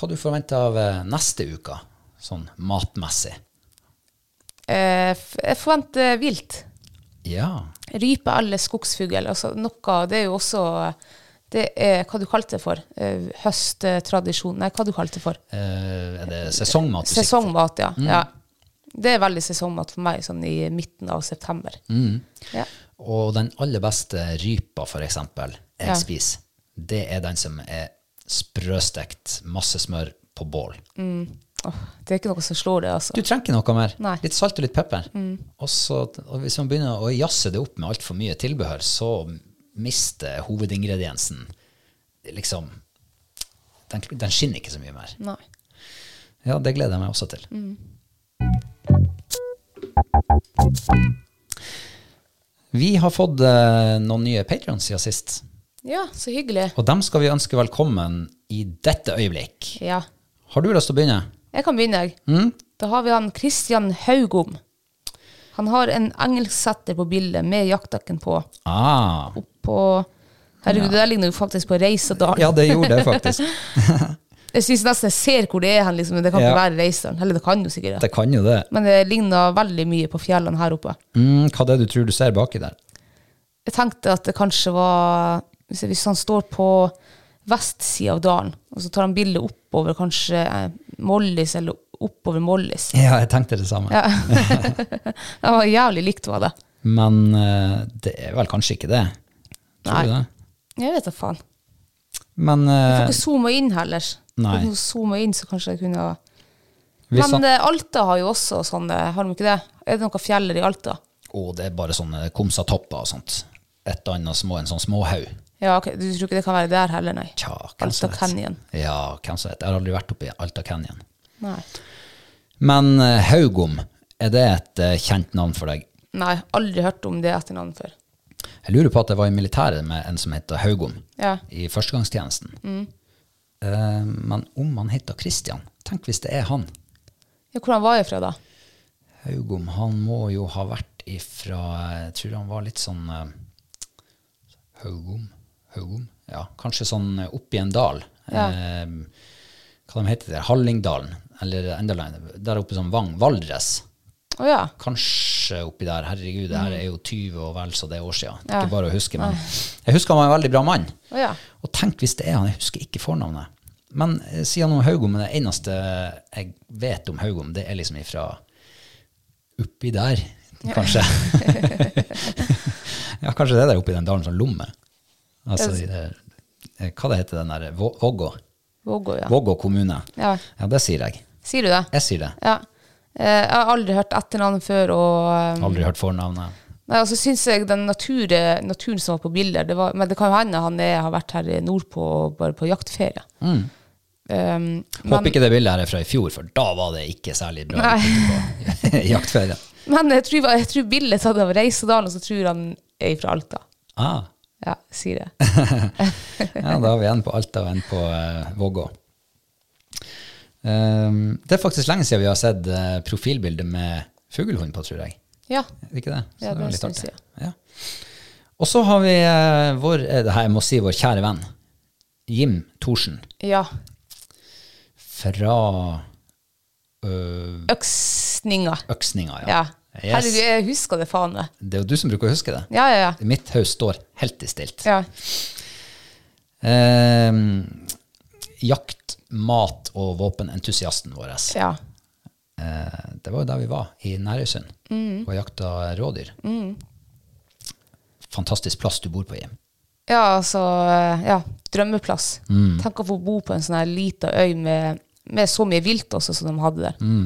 hva du forventer av eh, neste uke, sånn matmessig? Eh, f- Jeg forventer vilt. Ja, Rype eller skogsfugl. Altså noe Det er jo også eh, Det er hva du kalte det for? Eh, Høsttradisjon Nei, hva du kalte det for? eh, er det sesongmat? du sikter på? Sesongmat, ja. Mm. ja. Det er veldig sesongmat for meg sånn i midten av september. Mm. Ja. Og den aller beste rypa, for eksempel, jeg Ja. spiser, det er den som er sprøstekt, masse smør på bål. Åh, det er ikke noe som slår det, altså. Du trenger ikke noe mer. Nei. Litt salt og litt pepper. Og, så, og hvis man begynner å jazze det opp med altfor mye tilbehør, så mister hovedingrediensen liksom den, den skinner ikke så mye mer. Nei. Ja, det gleder jeg meg også til. Vi har fått eh, noen nye patrons siden sist, Ja, så hyggelig. og dem skal vi ønske velkommen i dette øyeblikk. Ja. Har du lyst til å begynne? Jeg kan begynne, jeg. Mm. Da har vi han Christian Haugom. Han har en engelsksetter på bildet med jaktdekken på. Ah, på Herregud, det der ligner jo faktisk på Reisadalen. ja, det gjorde jeg faktisk. Jeg syns nesten jeg ser hvor det er hen, liksom, men det kan Ja. ikke være Reisadalen. Eller det kan jo sikkert det. Det kan jo det. Men det ligner veldig mye på fjellene her oppe. Mm, hva det er du tror du ser baki der? Jeg tenkte at det kanskje var Hvis, hvis han står på vestsida av dalen, og så tar han bildet oppover kanskje eh, Mollis, eller oppover Mollis Ja, jeg tenkte det samme. ja. Det var jævlig likt, var det. Men eh, det er vel kanskje ikke det. Tror du Nei. det? Jeg vet da faen. Jeg Men eh, får ikke zooma inn heller. Nei. Hvis jeg zooma inn, så kanskje jeg kunne ha hvis Men han... eh, Alta har jo også sånne, har de ikke det? Er det noen fjeller i Alta? Å, det er bare sånne komsatopper og sånt. Et og annet små, en sånn småhaug. Ja, ok, Du tror ikke det kan være der heller, nei? Tja, hvem som Alta vet. Canyon. Ja, hvem som vet. Jeg har aldri vært oppe i Alta Canyon. Nei. Men eh, Haugom, er det et eh, kjent navn for deg? nei, aldri hørt om det etternavnet før. Jeg lurer på at jeg var i militæret med en som heter Haugom Ja. i førstegangstjenesten. Mm. Eh, men om han heter Christian, tenk hvis det er han. Ja, Hvor han var jeg fra, da? Haugom, han må jo ha vært ifra Jeg tror han var litt sånn eh, Haugom Haugom? Ja, kanskje sånn eh, oppi en dal. Ja. Eh, hva de heter det? Hallingdalen? Eller enda lenger. Der oppe som Vang. Valdres. Å ja. Kanskje oppi der. Herregud, det her er jo 20 og vel så det er år siden. Det er Mm. Ja. ikke bare å huske, men jeg husker han var en veldig bra mann. Å ja. Og tenk hvis det er han, jeg husker ikke fornavnet. Men eh, siden om Haugom, men det eneste jeg vet om Haugom, det er liksom ifra oppi der, kanskje. ja, kanskje det der oppi den dalen som lomme. Altså, i det, eh, hva det heter den der Vå- Vågå? Vågå, ja. Vågå kommune. ja. Ja, det sier jeg. Sier du det? Jeg sier det. Ja. Eh, Jeg har aldri hørt etternavnet før. Og, eh, Aldri hørt fornavnet. nei, og så syns jeg den natur, eh, naturen som var på bildet det var, Men det kan jo hende han er, har vært her i nordpå og bare på jaktferie. Um, Mm. Håper men, ikke det bildet her er fra i fjor, for da var det ikke særlig bra Nei. ute på jaktferie. men jeg tror, jeg tror bildet er tatt av Reisedalen, og så tror han er fra Alta. Ah, Ja, sier jeg. ja, da har vi en på Alta og en på eh, Vågå. Ehm, det er faktisk lenge siden vi har sett eh, profilbildet med fuglehund på, tror jeg. Ja. Er det ikke det? Så Ja, det var er en litt stund artig. siden. Ja. Og så har vi eh, vår, eh, det her jeg må si vår kjære venn, Jim Thorsen, ja. fra øh, Øksninga. Øksninga. Ja. Yes. Herregud, jeg husker det faen meg. Det er jo du som bruker å huske det. Ja, ja, ja. Mitt haus står helt i stilt. ja. Eh, jakt, mat og våpenentusiasten vår. ja. Eh, det var jo der vi var, i Nærøysund, Mm. og jakta rådyr. Fantastisk plass du bor på, Jim. Ja, altså Ja, drømmeplass. Tenk å få bo på en sånn her lita øy med, med så mye vilt også som de hadde der.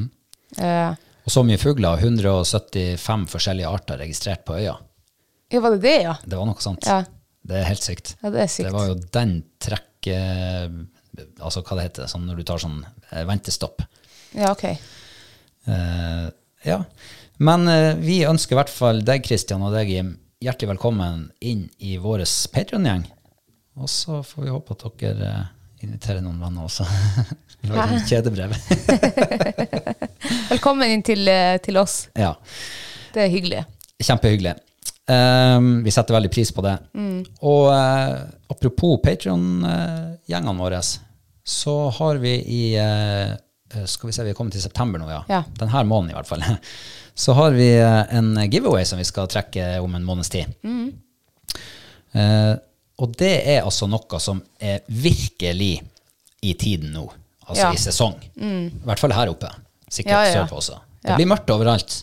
Eh, Og så mye fugler, 175 forskjellige arter registrert på øya. ja, var det det, ja? Det var noe sånt. Ja. Det er helt sykt. Ja, det er sykt. Det var jo den trekk... Eh, altså, hva det heter sånn når du tar sånn eh, ventestopp. Ja, ok. Eh, ja. Men eh, vi ønsker i hvert fall deg, Kristian, og deg, Jim, hjertelig velkommen inn i vår Patreon-gjeng. Og så får vi håpe at dere eh, inviterer noen venner også. Lager et kjedebrev. Velkommen inn til, eh, til oss. ja. Det er hyggelig. Kjempehyggelig. Ehm, vi setter veldig pris på det. Mm. Og eh, apropos Patrion-gjengene våre, så har vi i eh, Skal vi se, vi er kommet til september nå, ja. Ja. Denne måneden i hvert fall. Så har vi eh, en giveaway som vi skal trekke om en måneds tid. Mm. Eh, og det er altså noe som er virkelig i tiden nå. Altså Ja. Mm. i sesong. I hvert fall her oppe. Sikkert Ja, ja, ja. sørpå også. Det Ja. Mm. blir mørkt overalt,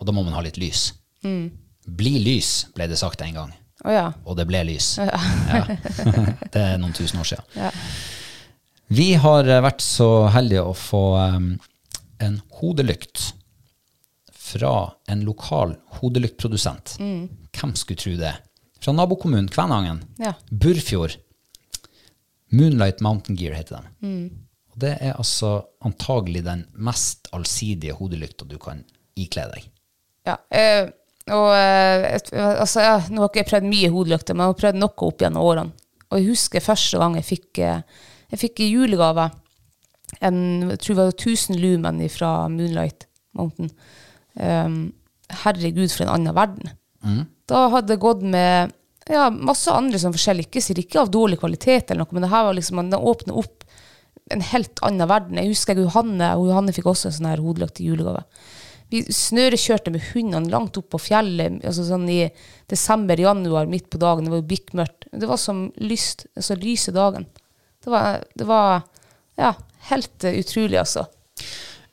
og da må man ha litt lys. Bli lys, ble det sagt en gang. Å ja. Og det ble lys. Ja. det er noen tusen år siden. Vi har eh, vært så heldige å få em, en hodelykt fra en lokal hodelyktprodusent. Mm. Hvem skulle tro det? Fra nabokommunen Kvænangen. Ja. Burfjord. Moonlight Mountain Gear heter den. Og det er altså antagelig den mest allsidige hodelykta du kan ikle deg. ja. eh, og eh, et- altså, ja, nå har ikke jeg prøvd mye hodelykter, men jeg har prøvd noe opp gjennom årene. Og jeg husker første gang jeg fikk, eh, jeg fikk i julegave en, jeg tror det var 1000 lumen fra Moonlight Mountain. Um, herregud, for en annen verden. Da hadde jeg gått med ja, masse andre sånn forskjellige, ikke, sier ikke av dårlig kvalitet eller noe, men det her var liksom, den åpner opp en helt annen verden. Jeg husker jeg, Johanne, og Johanne fikk også en sånn her hodelykt i julegave. Vi snørekjørte med hundene langt opp på fjellet, altså sånn i desember-januar, midt på dagen, det var jo bikkmørkt. Det var som lyst, altså lyse dagen. Det var, det var ja, helt eh, utrolig, altså.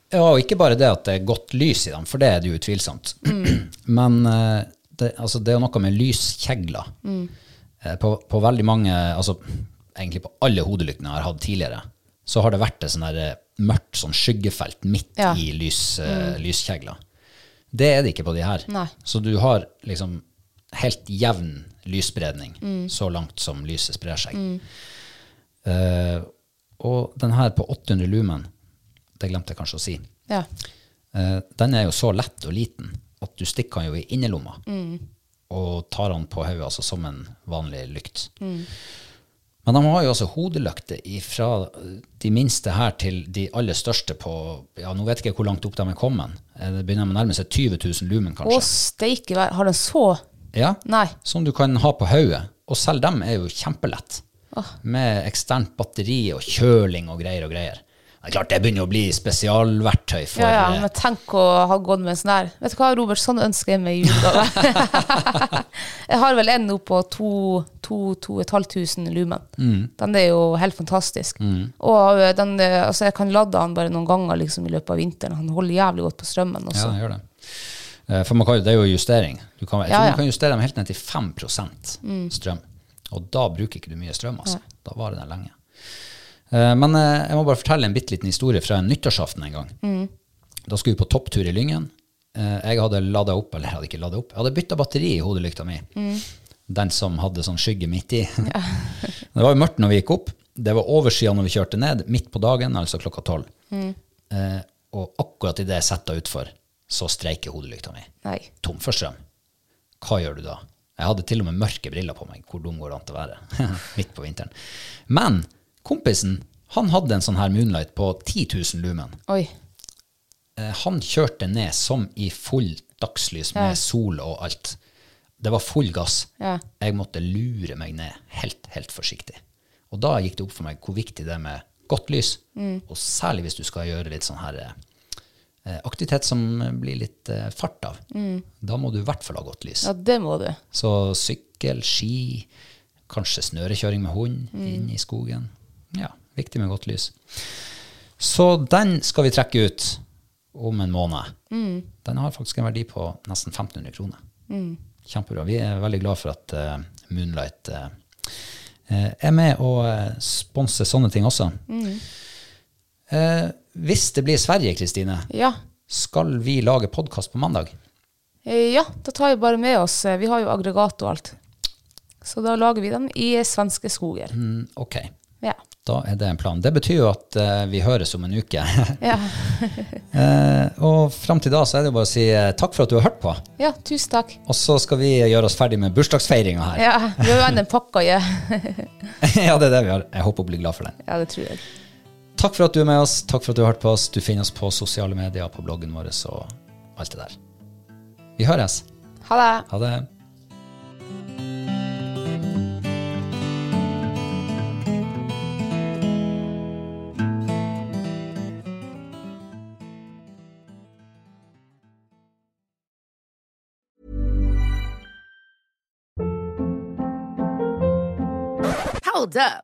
Ja, og ikke bare det at det er godt lys i dem, for det er det jo utvilsomt. Men eh, det, altså, det er jo noe med lyskjegler. Eh, På, på veldig mange, altså egentlig på alle hodelyktene jeg har hatt tidligere, så har det vært et sånn der eh, mørkt sånn skyggefelt midt Ja. i lys, eh, lyskjegler. Det er det ikke på de her. Nei. Så du har liksom helt jevn lysspredning så langt som lyset sprer seg. Eh, og den her på 800 lumen, det glemte jeg kanskje å si, Ja. eh, den er jo så lett og liten at du stikker den jo i innerlomma Mm. og tar den på hodet altså som en vanlig lykt. Mm. Men de har jo altså hodelykter fra de minste her til de aller største på ja, Nå vet jeg ikke hvor langt opp de er kommet. Eh, Det begynner å nærme seg 20 000 lumen, Å, kanskje. steike vær. Har den så Ja, Nei. som du kan ha på hodet. Og selv dem er jo kjempelett. Med eksternt batteri og kjøling og greier og greier. Det er klart, det begynner å bli spesialverktøy for Ja, ja, eh, men tenk å ha gått med en sånn her. Vet du hva, Robert, sånn ønsker jeg meg i julegave. jeg har vel en nå på 2500 lumen. Mm. Den er jo helt fantastisk. Og eh, den, eh, altså, jeg kan lade den bare noen ganger liksom, i løpet av vinteren. Han holder jævlig godt på strømmen Ja, også. den gjør det. Eh, For man kan, jo- det er jo justering. Du kan, jeg Ja, tror ja. Mm. man kan justere dem helt ned til 5 strøm. Og da bruker ikke du mye strøm. Altså. Da varer den lenge. Eh, Men eh, jeg må bare fortelle en bitte liten historie fra en nyttårsaften en gang. Mm. Da skulle vi på topptur i Lyngen. Eh, Jeg hadde lada opp, eller jeg hadde ikke ladet opp, jeg hadde bytta batteri i hodelykta mi. Mm. Den som hadde sånn skygge midt i. det var jo mørkt når vi gikk opp. Det var overskya når vi kjørte ned, midt på dagen, altså klokka tolv. Mm. Eh, og akkurat idet jeg setter henne utfor, så streiker hodelykta mi. Nei. Tom for strøm. Hva gjør du da? Jeg hadde til og med mørke briller på meg. Hvor dum går det an til å være? Midt på vinteren. Men kompisen, han hadde en sånn her moonlight på 10 000 lumen. Oi. Eh, han kjørte ned som i full dagslys med sol og alt. Det var full gass. Ja. Jeg måtte lure meg ned helt, helt forsiktig. Og da gikk det opp for meg hvor viktig det er med godt lys, og særlig hvis du skal gjøre litt sånn her eh, aktivitet som blir litt eh, fart av. Da må du i hvert fall ha godt lys. Ja, det må du. Så sykkel, ski, kanskje snørekjøring med hund inn i skogen. Ja, viktig med godt lys. Så den skal vi trekke ut om en måned. Den har faktisk en verdi på nesten 1500 kroner. Kjempebra. Vi er veldig glad for at eh, Moonlight eh, eh, er med og eh, sponser sånne ting også. Eh, hvis det blir Sverige, Kristine, Ja. skal vi lage podkast på mandag? Eh, Ja, da tar vi bare med oss eh, Vi har jo aggregat og alt. Så da lager vi dem i svenske skoger. Mm, ok. Ja. Da er det en plan. Det betyr jo at eh, vi høres om en uke. Ja. Eh, og fram til da så er det jo bare å si eh, takk for at du har hørt på. ja, tusen takk. Og så skal vi gjøre oss ferdig med bursdagsfeiringa her. Ja, vi har jo ennå en pakke å gi. ja, det er det vi har. Jeg håper hun blir glad for den. Ja, det tror jeg. Takk for at du er med oss. Takk for at du har hørt på oss. Du finner oss på sosiale medier, på bloggen vår og alt det der. Vi høres. Ha det. Ha det. Hold up.